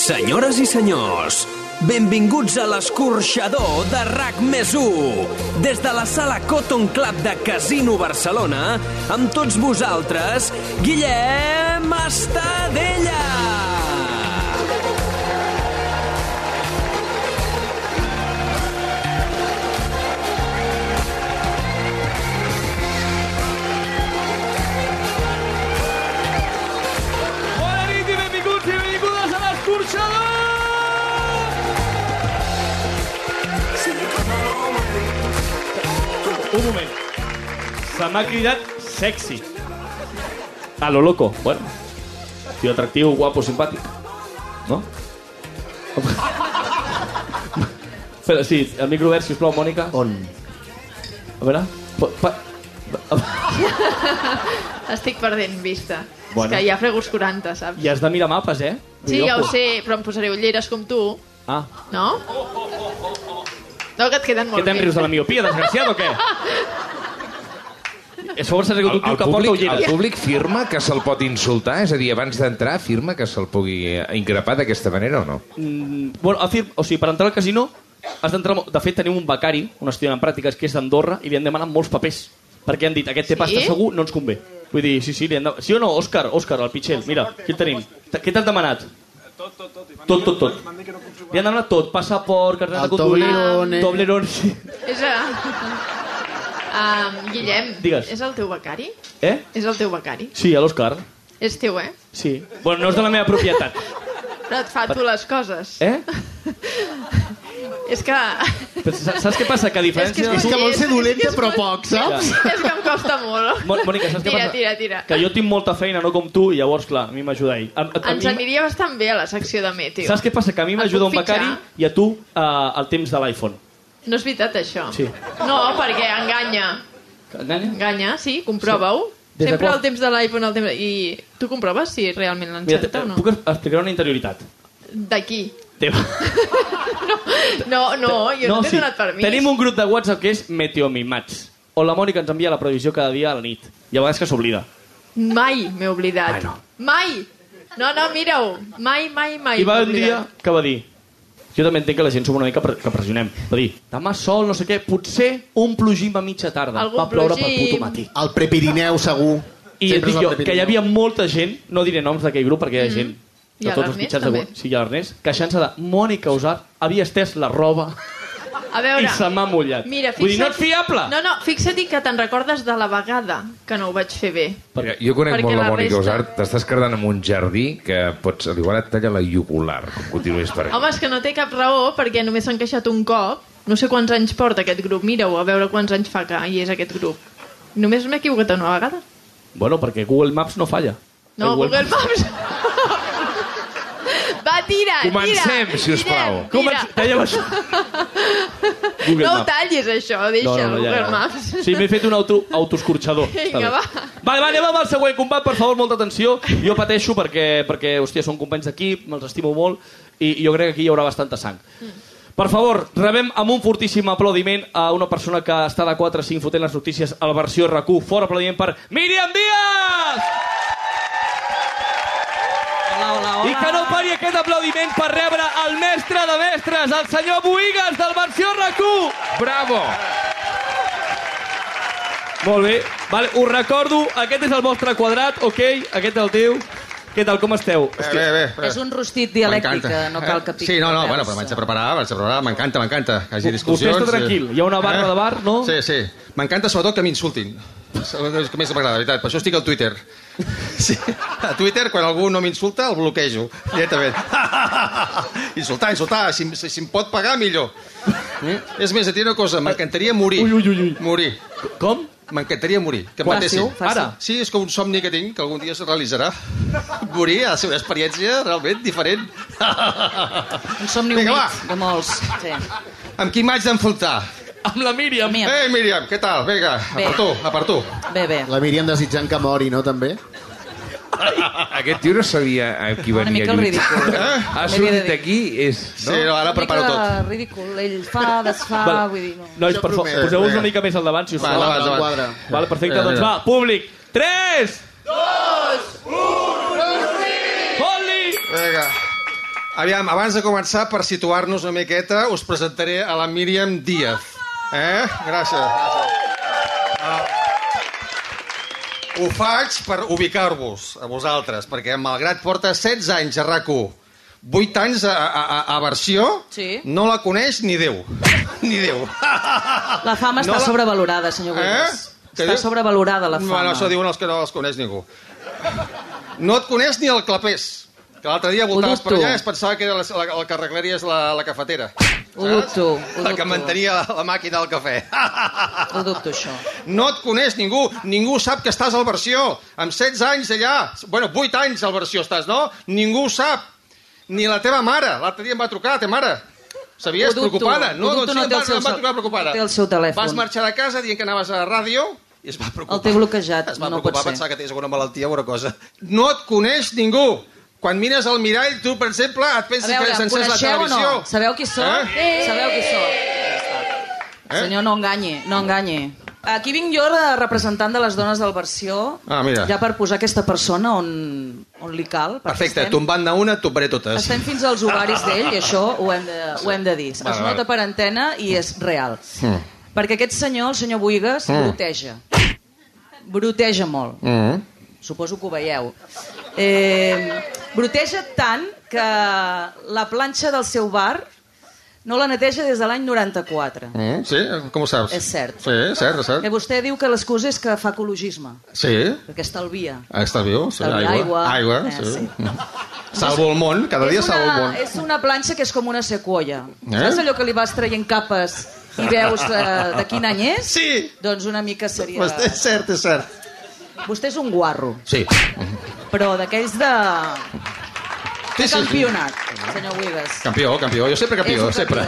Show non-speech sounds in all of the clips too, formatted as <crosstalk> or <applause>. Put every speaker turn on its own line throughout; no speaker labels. Senyores i senyors, benvinguts a l'escorxador de RAC més 1. Des de la sala Cotton Club de Casino Barcelona, amb tots vosaltres, Guillem Estadella.
Bona nit i benvinguts i benvingudes a l'escorxador! Un moment. Se m'ha cridat sexy. A lo loco. Bueno, tio atractiu, guapo, simpàtic. No? <laughs> Però sí, el micro obert, sisplau, Mònica.
On?
A veure... Pa, pa,
Estic perdent vista.
Bueno.
Bueno. És que ja fregus 40, saps?
I has de mirar mapes, eh?
Sí, ja ho
Ojo.
sé, però em posaré ulleres com tu,
Ah,
no? No, que et queden
Què
molt
te'n
bé.
rius de la miopia, desgraciat, o què? És favor, s'ha rigut un tio que porta
el
ulleres.
públic firma que se'l pot insultar? És a dir, abans d'entrar, firma que se'l pugui increpar d'aquesta manera o no?
Mm, bueno, afirm, o sigui, per entrar al casino has d'entrar... mo- De fet, tenim un becari, un estudiant en pràctiques, que és d'Andorra, i li han demanat molts papers. Perquè han dit, aquest té
Sí?
pasta segur, no ens convé. Vull dir, sí, sí, li han demanat... Sí o no, Òscar, Òscar, el pitxell, mira, aquí el tenim. T- Què t'han demanat? Tot, tot, tot. Li han demanat tot, passaport, carnet
El
de conduir...
Toblerone.
Toblerone. sí.
És a... Um, Guillem,
Digues.
és el teu becari?
Eh?
És el teu becari?
Sí, a l'Òscar.
És teu, eh?
Sí. Bueno, no és de la meva propietat.
Però et fa tu les coses.
Eh?
És que...
Però sa- saps què passa? Que a diferència...
És
És que vol
És-
ser dolenta
és
però
molt-
poc, saps?
<laughs> és que em costa molt.
Mo- Mònica, saps què
tira,
passa?
Tira, tira,
Que jo tinc molta feina, no com tu, i llavors, clar, a mi m'ajuda ell. A, a, a
Ens
mi-
aniria bastant bé a la secció de Meteo.
Saps què passa? Que a mi
Et
m'ajuda
puc
un becari
fitxar?
i a tu eh, el temps de l'iPhone.
No és veritat, això.
Sí.
No, perquè enganya.
Enganya?
Enganya, sí, comprova-ho.
Des de
Sempre
quan?
al temps de l'iPhone, al temps... I tu comproves si realment
Mira, te-
l'encerta o no?
puc explicar una interioritat.
D'aquí.
Teva.
No, no, Oh, jo no, t'he donat permís.
Tenim un grup de WhatsApp que és Meteomimats, on la Mònica ens envia la previsió cada dia a la nit. I a vegades que s'oblida.
Mai m'he oblidat.
Ai, no.
Mai! No, no, mira-ho. Mai, mai, mai.
I va
m'he
un dia
oblidat.
que va dir... Jo també entenc que la gent som una mica pre- que pressionem. Va dir, demà sol, no sé què, potser un plogim a mitja tarda.
Algun
va ploure pel
plogim.
puto matí.
El Prepirineu, segur.
I et
Sempre
dic
és el
jo, que
Prepirineu.
hi havia molta gent, no diré noms d'aquell grup perquè hi ha gent
Mm. I
de
a
tots els
l'Ernest,
mitjans de...
també.
Sí, i a l'Ernest, queixant-se de Mònica Usar havia estès la roba <laughs>
A veure...
i se m'ha mullat.
Mira,
Vull dir, no
fixa't-
ets fiable!
No, no, fixa't que te'n recordes de la vegada que no ho vaig fer bé.
Perquè...
Jo conec
Perquè
molt la
la
Mònica
resta-
Usart. T'estàs quedant en un jardí que pots... Igual et talla la jugular, com continuïs per aquí.
Home, és que no té cap raó perquè només s'han queixat un cop. No sé quants anys porta aquest grup. Mira-ho, a veure quants anys fa que hi és aquest grup. Només m'he equivocat una vegada.
Bueno, perquè Google Maps no falla.
No,
El
Google, Maps. Va, tira,
Comencem,
tira.
si us plau.
Guillem,
Comença...
tira.
Talla'm això.
<laughs>
Google
No ho
Maps.
tallis, això. Deixa no, no, Google Maps.
Sí, m'he fet un auto, autoescorxador.
<laughs> Vinga,
Està bé.
va.
Vale, va, anem amb el següent combat, per favor, molta atenció. Jo pateixo perquè, perquè hòstia, són companys d'equip, me'ls estimo molt, i jo crec que aquí hi haurà bastanta sang.
Mm.
Per favor, rebem amb un fortíssim aplaudiment a una persona que està de 4 a 5 fotent les notícies a la versió RAC1. Fort aplaudiment per Míriam Díaz!
Hola, hola,
I que no pari aquest aplaudiment per rebre el mestre de mestres, el senyor Boigues del versió RAC1!
Bravo!
Molt bé. Vale, us recordo, aquest és el vostre quadrat, ok? Aquest és el teu. Què tal, com esteu?
Bé, bé, bé.
És un rostit dialèctic,
M'encanta.
que no cal que piqui.
Sí, no, no,
Veus?
bueno, però vaig a preparar, vaig a preparar, m'encanta, m'encanta, que hi hagi
Vostè
discussions. Eh?
està tranquil, hi ha una barra de bar, no?
Sí, sí. M'encanta sobretot que m'insultin. És el que més m'agrada, de veritat. Per això estic al
<laughs>
Twitter. Sí. A Twitter, quan algú no m'insulta, el bloquejo,
<laughs>
directament. Insultar, insultar, si, si, si em pot pagar, millor. Mm? És més, et diré una cosa, m'encantaria morir.
Ui, ui, ui, ui.
Morir.
Com?
M'encantaria morir, que em
Quan?
matessin.
Fàcil.
Ara?
Sí, és com un somni que tinc, que algun dia es realitzarà. Morir ha de ser una experiència realment diferent. <laughs>
Un somni
Vinga,
Vinga,
va.
humit de molts. Sí.
Amb qui m'haig d'enfrontar?
Amb la Míriam.
Míriam.
Ei, Míriam, què tal? Vinga, a
Bé.
per tu, a per tu.
Bé, bé.
La Míriam desitjant que mori, no, també?
Aquest tio no sabia a qui
Una
venia
mica
a
el
lluitar.
ridícul.
Ha
L'he de
sortit
dir.
aquí, és...
Sí, no, ara Eh, preparo
Una mica
tot.
ridícul. Ell fa, desfà,
Vale.
vull dir... No.
Nois,
Jo
per favor,
prometo.
poseu-vos una
Vinga.
mica més al davant, si us
Va,
plau.
endavant,
Al
endavant.
quadre.
Vale, perfecte,
Mira,
doncs
mira.
va, públic. 3, 2, 1, Oli!
Vinga. Aviam, abans de començar, per situar-nos una miqueta, us presentaré a la Míriam Díaz. Eh? Gràcies. Ho faig per ubicar-vos, a vosaltres, perquè malgrat porta 16 anys a rac 8 anys a, a, a, a versió,
Sí.
no la coneix ni Déu. <laughs> Ni
<laughs>
Déu.
La fama
Ah, No
està
la-
sobrevalorada, senyor Guinness. Està sobrevalorada, la fama.
Eh? Bueno, això diuen els que no els coneix ningú. No et coneix ni el clapés. Que l'altre dia voltaves per
dubto.
allà i es pensava que era la, la, el que arreglaries la, la cafetera.
Ho dubto, ho
La que
dubto.
mantenia la, la màquina del cafè.
Ho dubto, això.
No et coneix ningú, ningú sap que estàs al versió. Amb 16 anys allà, bueno, 8 anys al versió estàs, no? Ningú ho sap. Ni la teva mare. L'altre dia em va trucar, la teva mare. Sabies?
Ho dubto,
preocupada.
ho dubto, no
doncs sí, em
té
va,
el seu
em va
cel-
trucar preocupada.
no té el seu telèfon.
Vas marxar de casa dient que anaves a la ràdio i es va preocupar.
El té bloquejat,
Es va
no pot
preocupar,
ser.
pensar que tens alguna malaltia o alguna cosa. No et coneix ningú. Quan mires al mirall, tu, per exemple, et
A
penses
veure,
que
em
s'encès la
coneixeu o no?
televisió.
Sabeu qui sóc?
Eh?
Sabeu qui sóc? Ja està. Senyor, no enganye, no enganye. Aquí vinc jo de representant de les dones del versió,
Ah, mira.
ja per posar aquesta persona on, on li cal. perquè
Perfecte,
estem-
tombant d'una, et tombaré totes.
Estem fins als ovaris d'ell, i això ho hem de, ho hem de dir. Es
Vale, vale.
nota per antena i és real.
Mm.
Perquè aquest senyor, el senyor Buigas, broteja. Broteja molt.
Mm.
Suposo que ho veieu. Eh, broteja tant que la planxa del seu bar no la neteja des de l'any 94.
Mm, sí, com ho saps?
Eh? És cert.
Sí, és cert, és cert.
Que Eh, vostè diu que l'excusa és que fa ecologisme,
Sí, Ah,
perquè estalvia.
està viu. Sí,
Estalvi
aigua.
aigua.
Aigua,
Eh,
sí.
sí.
<laughs> Salvo el món, cada dia
és
salvo el
una,
món.
és una planxa que és com una sequoia.
Eh?
Eh? Saps allò que li vas traient capes i veus eh, de quin any és?
Sí.
Doncs una mica seria...
Pues és cert, és cert.
Vostè és un guarro,
Sí.
però d'aquells de...
Sí,
de
sí, sí.
campionat, senyor Wigas.
Campió, campió. Jo sempre
És
campió,
un
sempre.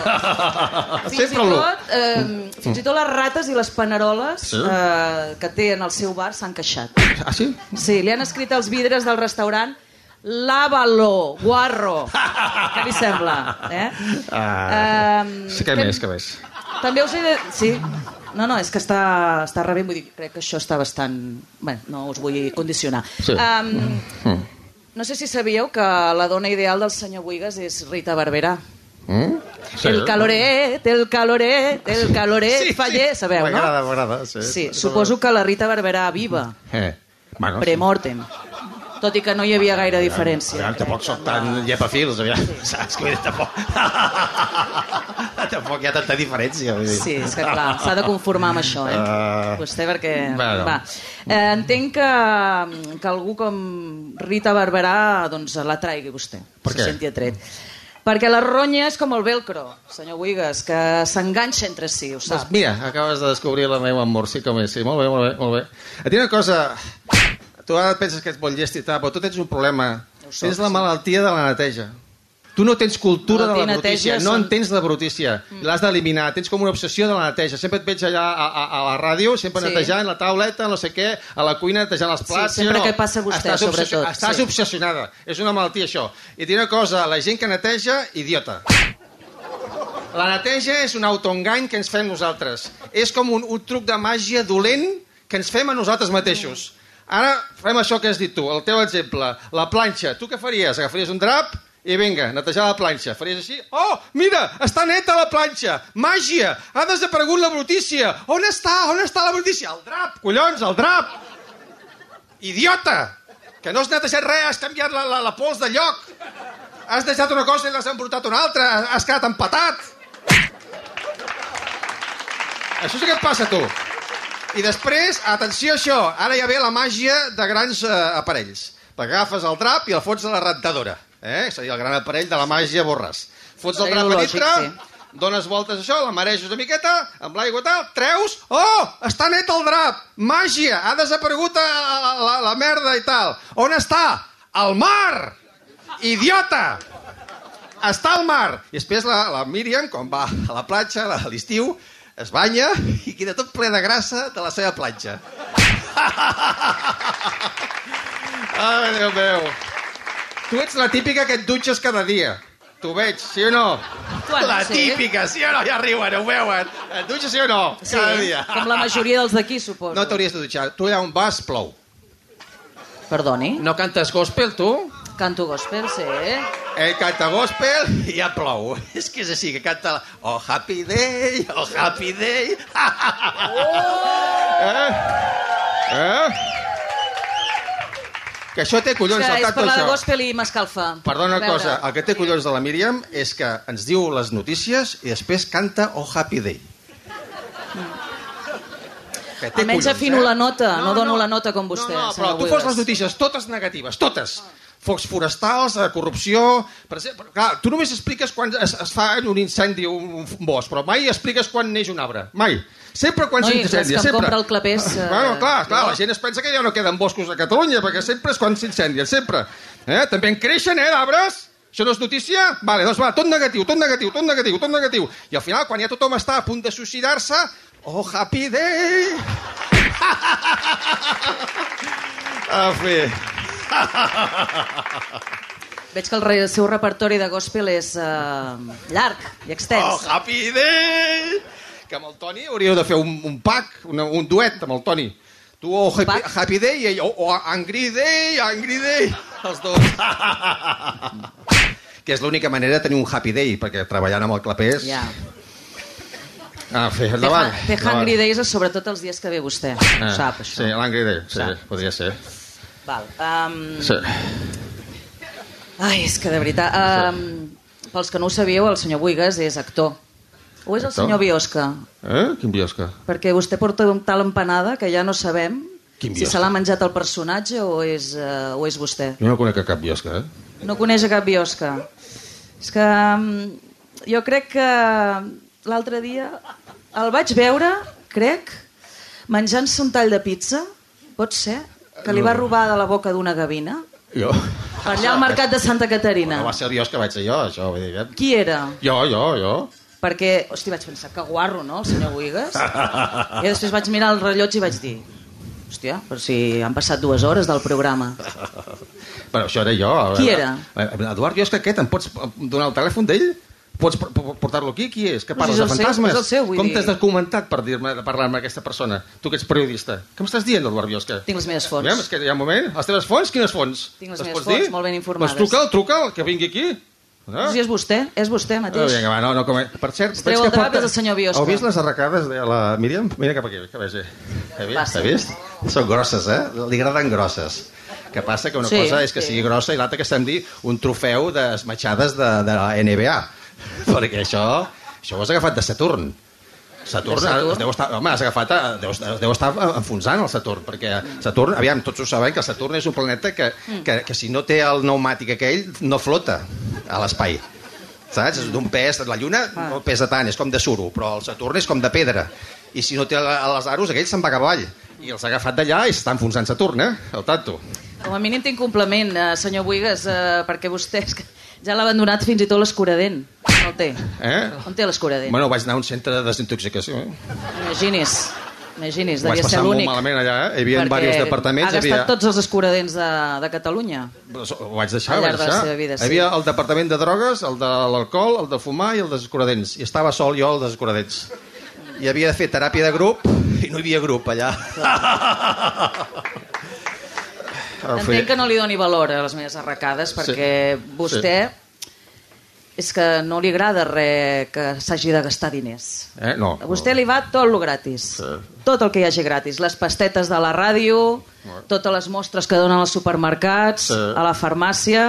Fins
sempre
i
l'1.
tot, eh, fins i tot les rates i les paneroles
Sí.
eh, que té en el seu bar s'han queixat.
Ah, sí?
Sí, li han escrit als vidres del restaurant Lávalo,
<laughs>
guarro. Què li sembla? Eh?
Ah.
Em,
Sí, què
fem-
més, què més?
També us he de... Sí. No, no, és que està, està rebent, vull dir, crec que això està bastant... Bé, no us vull condicionar.
Sí. Mm.
Um, no sé si sabíeu que la dona ideal del senyor Buigas és Rita Barberà.
Mm? Sí.
El caloret, el caloret, el caloret,
Sí, sí.
faller, sabeu, no?
M'agrada, m'agrada, sí.
Sí, suposo que la Rita Barberà viva,
Eh. Bueno,
premortem. Tot i que no hi havia gaire diferència.
Aviam, tampoc sóc tan llepafils, aviam. Saps? Que vull dir, tampoc... <laughs> tampoc hi ha tanta diferència. Vull dir.
Sí, és que clar, s'ha
<laughs>
de conformar amb això, eh?
Ah.
Vostè, perquè...
Bueno.
Va. Eh, entenc que, que algú com Rita Barberà doncs, la traigui vostè.
Per què?
Se senti atret. Perquè la ronya és com el velcro, senyor Buigas, que s'enganxa entre si, ho
Doncs
sap.
mira, acabes de descobrir la meva amor, sí com és. Sí, molt bé, molt bé, molt bé. Et diré una cosa... Tu ara et penses que ets molt llest i tal, però tu tens un problema.
Ho soc,
tens la
sí.
malaltia de la neteja. Tu no tens cultura de la
Malaltia i neteja
brutícia, no
són- Mm.
en tens la brutícia. L'has d'eliminar, tens com una obsessió de la neteja. Sempre et veig allà a, a, a la ràdio, sempre
Sí.
netejant la tauleta, no sé què, a la cuina netejant els plats.
sempre
o no?
que passa vostè,
Estàs obsessi-
sobretot,
Estàs
sí.
obsessionada. És una malaltia, això. I et diré una cosa, la gent que neteja, idiota. La neteja és un autoengany que ens fem nosaltres. És com un, un truc de màgia dolent que ens fem a nosaltres mateixos. Ara fem això que has dit tu, el teu exemple, la planxa. Tu què faries? Agafaries un drap i vinga, netejar la planxa. Faries així? Oh, mira, està neta la planxa! Màgia! Ha desaparegut la brutícia! On està? On està la brutícia? El drap! Collons, el drap! Idiota! Que no has netejat res, has canviat la, la, la pols de lloc. Has deixat una cosa i l'has embrutat una altra. Has quedat empatat. Això sí que et passa a tu. I després, atenció a això, ara ja ve la màgia de grans eh, aparells. Perquè agafes el drap i el fots a la rentadora. Eh? Seria el gran aparell de la màgia borràs. Fots el drap a
Tecnològic,
dintre,
sí.
dones voltes a això, la mareixes una miqueta, amb l'aigua i tal, treus, oh, està net el drap, màgia, ha desaparegut a, a, a, la, la merda i tal. On està? Al mar! Idiota! Està al mar! I després la, la Míriam, quan va a la platja a l'estiu, es banya i queda tot ple de grassa de la seva platja. <laughs> Ai, Déu meu. Tu ets la típica que et dutxes cada dia. T'ho veig, sí o no?
Tu ara
la
sí.
típica, sí o no? Ja riuen, ho veuen. Et dutxes sí o no? Cada dia.
com la majoria dels d'aquí, suposo.
No t'hauries de dutxar. Tu allà on vas, plou.
Perdoni?
No cantes gospel, tu?
Canto gospel, sí.
Ell Eh, canta gospel i ja plou. <laughs> És que és així, que canta... La... Oh, happy day, oh, happy <laughs> day. eh? Eh? Que això té collons,
que
el
és
tacte,
parlar
això.
de gospel i m'escalfa.
Perdona
A
una
veure.
cosa, el que té collons de la Míriam és que ens diu les notícies i després canta Oh Happy Day. Que té
Hmm.
eh?
Almenys afino la nota, no dono la nota com vostè,
No, no, però
senyor
tu fos
Cuevas.
les notícies totes negatives, totes. Focs forestals, eh, corrupció... Per exemple, clar, tu només expliques quan es, es fa un incendi o un, un bosc, però mai expliques quan neix un arbre. Mai. Sempre quan
Noi,
s'incendia,
és que em
sempre.
compra el clapés, eh,
<laughs> Bueno, clar, clar,
jo.
la gent es pensa que ja no queden boscos a Catalunya, perquè sempre és quan s'incendien, sempre. Eh? També en creixen, eh, d'arbres? Això no és notícia? Vale, doncs va, tot negatiu, tot negatiu, tot negatiu, tot negatiu. I al final, quan ja tothom està a punt de suïcidar-se, oh, happy day! a fer...
Veig que el re- seu repertori de gospel és eh, llarg i
Oh,
extens.
happy day! Que amb el Toni hauríeu de fer un, un pack, una, un duet amb el Toni. Tu, oh, happy,
pack?
happy day, i ell, oh, oh, angry day, angry day, els
<laughs>
dos. que és l'única manera de tenir un happy day, perquè treballant amb el clapés...
Ja.
Ah, fer,
Té,
endavant. Ah,
ha- té Hungry Days és sobretot els dies que ve vostè. Ho sap, això.
Sí, l'angry day, sí,
Sap.
podria ser.
Val. Um,
Sí.
Ai, és que de veritat... Um, pels que no ho sabíeu, el senyor Buigas és actor. O és el
Actor?
senyor Biosca?
Eh? Quin biosca?
Perquè vostè porta un tal empanada que ja no sabem
Quin
si
Biosca?
se l'ha menjat el personatge o és, uh, o és vostè.
Jo no conec cap biosca, eh?
No coneix a cap biosca. És que mm, jo crec que l'altre dia el vaig veure, crec, menjant-se un tall de pizza, pot ser, que li va robar de la boca d'una gavina,
Jo.
per allà al mercat de Santa Caterina.
No va ser el biosca, vaig ser jo, això. Vull dir, eh?
Qui era?
Jo, jo, jo.
Perquè, hosti, vaig pensar, que guarro, no, el senyor Buigas? I després vaig mirar el rellotge i vaig dir, hòstia, però si han passat dues hores del programa.
Però això era jo. Eh,
Qui era?
Eduard Biosca aquest, em pots donar el telèfon d'ell? Pots por- por- portar-lo aquí? Qui és? Que
No,
parles
si és
de
el seu,
fantasmes?
és el seu, vull
Com
dir.
t'has documentat per dir-me de parlar amb aquesta persona? Tu que ets periodista. Què m'estàs dient, Eduard Biosca?
Tinc les meves fonts.
Aviam, és que hi ha un moment. Les teves fonts? Quines fonts?
Tinc les
Les
meves
pots
fonts,
dir?
molt ben informades.
Doncs truca'l, truca'l, que vingui aquí.
No sé si és vostè, és vostè
Ah,
mateix.
vinga, va, no, no, com... Per cert,
Es treu el debat del senyor Biosca.
Heu vist les arracades de la Míriam? Mira cap aquí, que vegi. He
Va,
vist,
sí.
he vist? Són grosses, eh? Li agraden grosses. Que passa que una
Sí,
cosa és que
sí.
sigui grossa i l'altra que se'n dir un trofeu d'esmatxades de, de la NBA. <laughs> Perquè això, això ho has agafat de Saturn. Saturn,
De Saturn?
Saturn? Deu estar, home, has agafat, a- deu, es- deu estar eh, enfonsant el Saturn, perquè Saturn, aviam, tots ho sabem, que Saturn és un planeta que,
Mm.
que, que si no té el pneumàtic aquell, no flota a l'espai. Saps? És d'un pes, la Lluna
Ah.
no pesa tant, és com de suro, però el Saturn és com de pedra. I si no té la- les aros, aquell se'n va cap avall. I els ha agafat d'allà i s'està enfonsant Saturn, eh? El tanto.
Com a mínim tinc compliment, eh, senyor Buigas, eh, perquè vostè és que ja l'ha abandonat fins i tot l'escuradent. No el té.
Eh?
On té l'escuradent? Bueno,
Bueno, vaig anar a un centre de desintoxicació, eh?
imagini's, imagininis,
Ho vaig
devia ser
passar molt
l'únic.
malament allà, eh? Hi havia diversos departaments.
ha gastat
havia... Ah,
tots els escuradents de, de Catalunya.
Ho vaig deixar,
Al
ho vaig
llarg de la
deixar.
seva vida, sí.
Hi havia el departament de drogues, el de l'alcohol, el de fumar i el dels escuradents. I estava sol jo al dels escuradents. I havia de fer teràpia de grup i no hi havia grup allà. En fi,
Entenc que no li doni valor a les meves arracades, perquè
Sí,
vostè és que no li agrada res que s'hagi de gastar diners.
Eh, no.
A vostè li va tot lo gratis. Tot el que hi hagi gratis. Les pastetes de la ràdio, totes les mostres que donen als supermercats,
Sí.
a la farmàcia...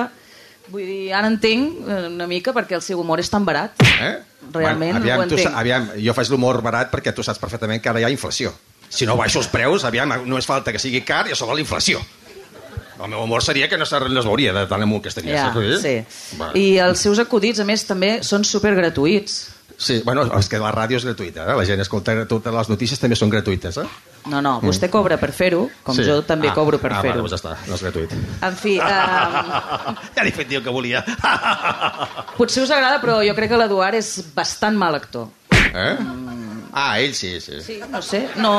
Vull dir, ara entenc eh, una mica perquè el seu humor és tan barat.
Eh?
Realment,
aviam,
ho
tu sa-
entenc.
aviam, jo faig l'humor barat perquè tu saps perfectament que ara hi ha inflació. Si no baixo els preus, aviam, només falta que sigui car i a sobre la inflació. El meu humor seria que no, se- no es veuria de tant amunt que estaria.
Ja,
saps què vull dir?
sí.
Va.
I els seus acudits, a més, també són supergratuïts.
Sí, bueno, és que la ràdio és gratuïta, eh? la gent escolta totes les notícies també són gratuïtes, eh?
No, no, vostè cobra per fer-ho, com
sí.
jo també
ah,
cobro per
ah,
fer-ho.
Ah, doncs ja està, no és gratuït.
En
<laughs>
fi, eh,
ja li he fet dir el que volia.
potser us agrada, però jo crec que l'Eduard és bastant mal actor.
eh? Ah, ell sí, sí.
Mm. Sí, no sé, no...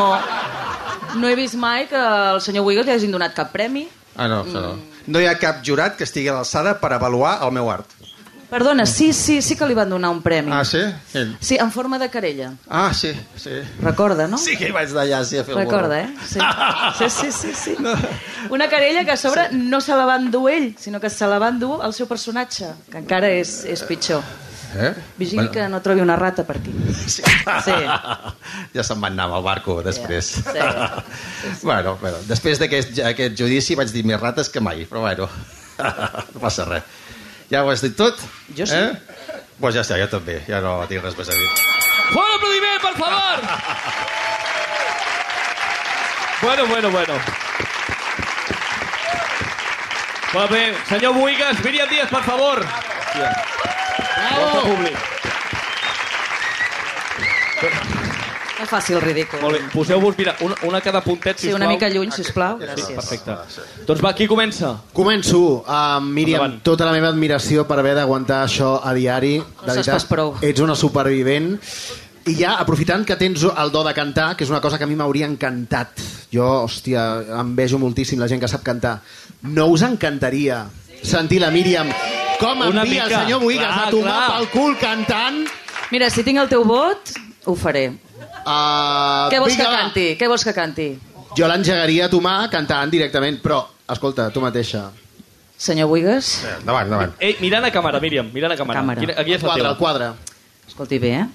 No he vist mai que el senyor Wiggles li hagin donat cap premi. Mm.
Ah, no, això no. No hi ha cap jurat que estigui a l'alçada per avaluar el meu art.
Perdona, sí, sí, sí que li van donar un premi.
Ah, sí? Ell.
Sí, en forma de querella.
Ah, sí, sí.
Recorda, no?
Sí que hi vaig d'allà, sí, a fer el
Recorda, eh? Sí. Sí, sí, sí, sí. Una querella que a sobre no se la va endur ell, sinó que se la va endur el seu personatge, que encara és, és pitjor.
Eh?
Vigili que no trobi una rata per aquí.
Sí.
Sí.
<laughs> Ja se'n va anar amb el barco després.
Sí, sí, sí, sí.
<laughs> Bueno, bueno, després d'aquest aquest judici vaig dir més rates que mai, però bueno, <laughs> no passa res. Ja ho has dit tot?
Jo sí.
Eh? Pues ja està, jo també, ja no tinc res més a dir. Eh,
Fort aplaudiment, per favor! Bueno, bueno, bueno. Molt bé, senyor Buigas, Míriam Díaz, per favor. Bravo! Públic.
No faci el ridícul.
Molt bé, poseu-vos, mira, una, una cada puntet,
Sí,
sisplau. Ah,
una mica lluny, sisplau.
Sí,
Gràcies.
perfecte. Doncs va, qui comença?
Començo. Uh, Míriam,
Endavant.
tota la meva admiració per haver d'aguantar això a diari. De
saps
veritat,
pas prou.
Ets una supervivent. I ja, aprofitant que tens el do de cantar, que és una cosa que a mi m'hauria encantat. Jo, hòstia, em vejo moltíssim la gent que sap cantar. No us encantaria sentir la Míriam com
Una
envia el
mica.
senyor Boigas
Clar,
a tomar
clar.
pel cul cantant?
Mira, si tinc el teu vot, ho faré.
Ah,
Uh,
Què vols que canti? Què vols que canti?
Jo l'engegaria a tomar cantant directament, però, escolta, tu mateixa.
Senyor Buigas,
Endavant, endavant.
Ei, mirant a càmera, Míriam, mirant a càmera.
Càmera.
Aquí, aquí és la
Quadre,
teva.
el quadre.
escolti bé, eh?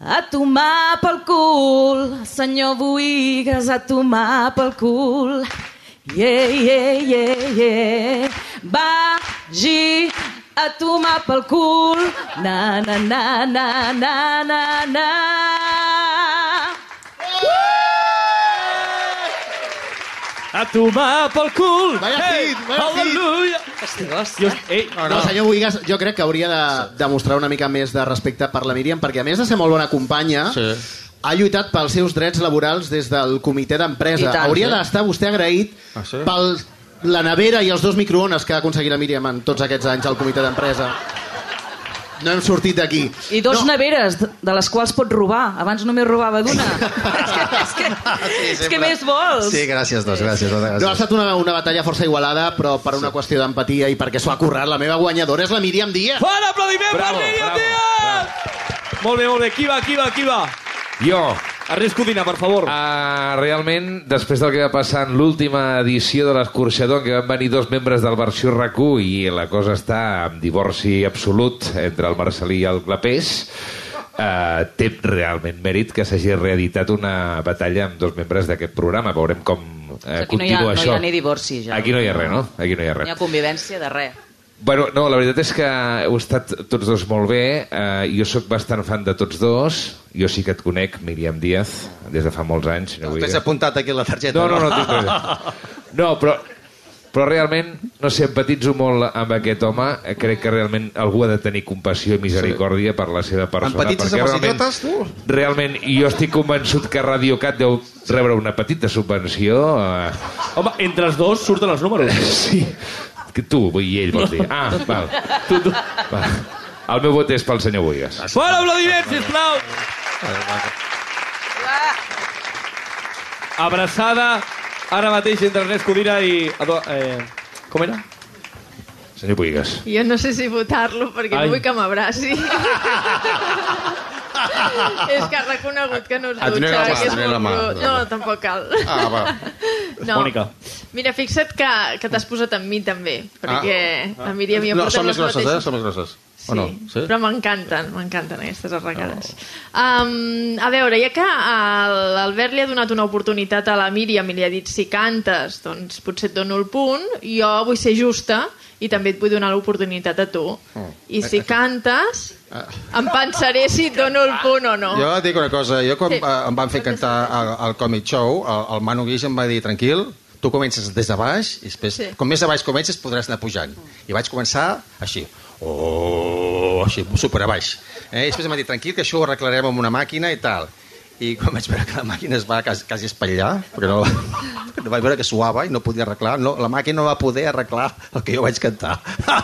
A tomar pel cul, senyor Buigas, a tomar pel cul. Yeah, yeah, yeah, yeah. Vagi a tomar pel cul. Na, na, na, na, na, na, na.
A tomar pel cul!
Vaya
Ei,
hit, vaya hit.
aleluia!
Hosti,
Just, ei,
No, no. El senyor Boigas jo crec que hauria de demostrar una mica més de respecte per la Míriam, perquè a més de ser molt bona companya,
Sí.
ha lluitat pels seus drets laborals des del comitè
I
d'empresa.
tant,
Hauria
sí.
d'estar vostè agraït
Ah, sí?
pel la nevera i els dos microones que ha aconseguit la Míriam en tots aquests anys al comitè d'empresa. No hem sortit d'aquí.
I dos no. neveres, de- de les quals pot robar. Abans només robava d'una. és que, és que, és que
sempre.
més vols.
Sí, gràcies, doncs, gràcies. Doncs, gràcies.
No, ha estat una, una batalla força igualada, però per una qüestió d'empatia i perquè s'ho ha currat, la meva guanyadora és la Míriam Díaz.
Fort aplaudiment
Bravo,
per Míriam
bravo,
Díaz! Molt bé, molt bé. Qui va, qui va, qui va?
Jo,
Ernest Codina, per favor.
Uh, realment, després del que va passar en l'última edició de l'escorxador, en què van venir dos membres del versió rac i la cosa està en divorci absolut entre el Marcelí i el Clapés, uh, té realment mèrit que s'hagi reeditat una batalla amb dos membres d'aquest programa. Veurem com uh,
Aquí no hi,
continua
ha, no hi
això.
ha ni divorci, ja.
Aquí no hi ha res, no? Aquí no hi ha
No
res.
hi ha convivència de res.
Bueno, no, la veritat és que heu estat tots dos molt bé. Uh, jo sóc bastant fan de tots dos. Jo sí que et conec, Míriam Díaz, des de fa molts anys. No vull
T'has
dir-
apuntat aquí la targeta.
no, no, no, tinc res. No, però, però realment, no sé, empatitzo molt amb aquest home. Eh, Crec que realment algú ha de tenir compassió i misericòrdia per la seva persona.
Empatitzes
perquè
amb els
realment-
idiotes, tu?
Realment, jo estic convençut que RadioCat deu rebre una petita subvenció. Eh, <laughs>
Home, entre els dos surten els números.
sí, que tu, vull dir, ell, vols dir. Ah, val. Tu, tu. Va. El meu vot és pel senyor Boigas.
Fora aplaudiment, sisplau! Abraçada ara mateix entre Ernest Codina i... Ado- Eh, com era?
Senyor Boigas.
Jo no sé si votar-lo perquè
Ai.
no vull que
<laughs>
m'abraci. és que ha reconegut que Ah, no es
Et
dutxa,
donaré la mà,
que és
et donaré la
molt
mà.
brut. No, tampoc cal.
Ah, va.
No.
Mònica.
Mira, fixa't que, que t'has posat amb mi també, perquè ah. la Míriam i jo
no,
portem
som més
les
grosses, eh?
mateixes...
Som més grosses.
Sí,
O no? Sí? Oh.
però m'encanten, m'encanten aquestes arracades. Um, a veure, ja que a l'Albert li ha donat una oportunitat a la Míriam i li ha dit si cantes, doncs potser et dono el punt, jo vull ser justa i també et vull donar l'oportunitat a tu.
Oh.
I si cantes, em pensaré si et dono el punt o no.
Ah. Jo et dic una cosa, jo quan
Sí.
sí. em van fer cantar al, al Comic Show, el, el Manu Guix em va dir, tranquil, tu comences des de baix, i després,
Sí.
sí. com més a baix comences, podràs anar pujant. I vaig començar així, oh, així, super a baix. Eh? I després em va dir, tranquil, que això ho arreglarem amb una màquina i tal. I quan vaig veure que la màquina es va quasi, quasi espatllar, perquè no, <laughs> no vaig veure que suava i no podia arreglar, no, la màquina no va poder arreglar el que jo vaig cantar. <laughs>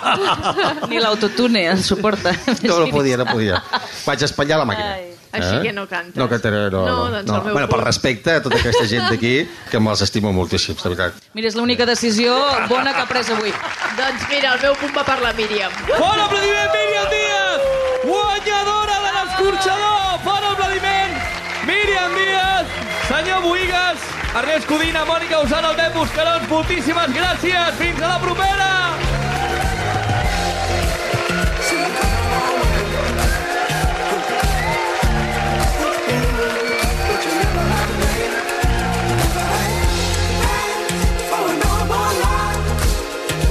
Ni l'autotune el suporta.
<laughs> No, no podia, no podia. Vaig espatllar la màquina. Eh?
Ai.
Així que no cantes.
No cantaré, no.
No, doncs el meu
bueno, per
punt.
respecte a tota aquesta gent d'aquí, que me'ls estimo moltíssim, de veritat.
Mira, és l'única decisió bona que ha pres avui.
Doncs mira, el meu punt va per la Míriam.
Fort aplaudiment, Míriam Díaz! Guanyadora de l'escorxador! Fort aplaudiment, Míriam Díaz! Senyor Boigues, Ernest Codina, Mònica Usana, Albert Buscarons, moltíssimes gràcies! Fins a la propera!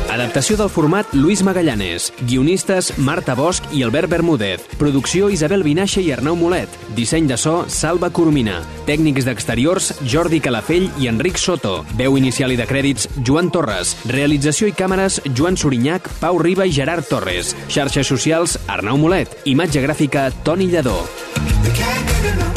Adaptació del format Luis Magallanes. Guionistes Marta Bosch i Albert Bermúdez. Producció Isabel Vinaixa i Arnau Molet. Disseny de so Salva Coromina. Tècnics d'exteriors Jordi Calafell i Enric Soto. Veu inicial i de crèdits Joan Torres. Realització i càmeres Joan Sorinyac, Pau Riba i Gerard Torres. Xarxes socials Arnau Molet. Imatge gràfica Toni Lladó.
We can't get enough.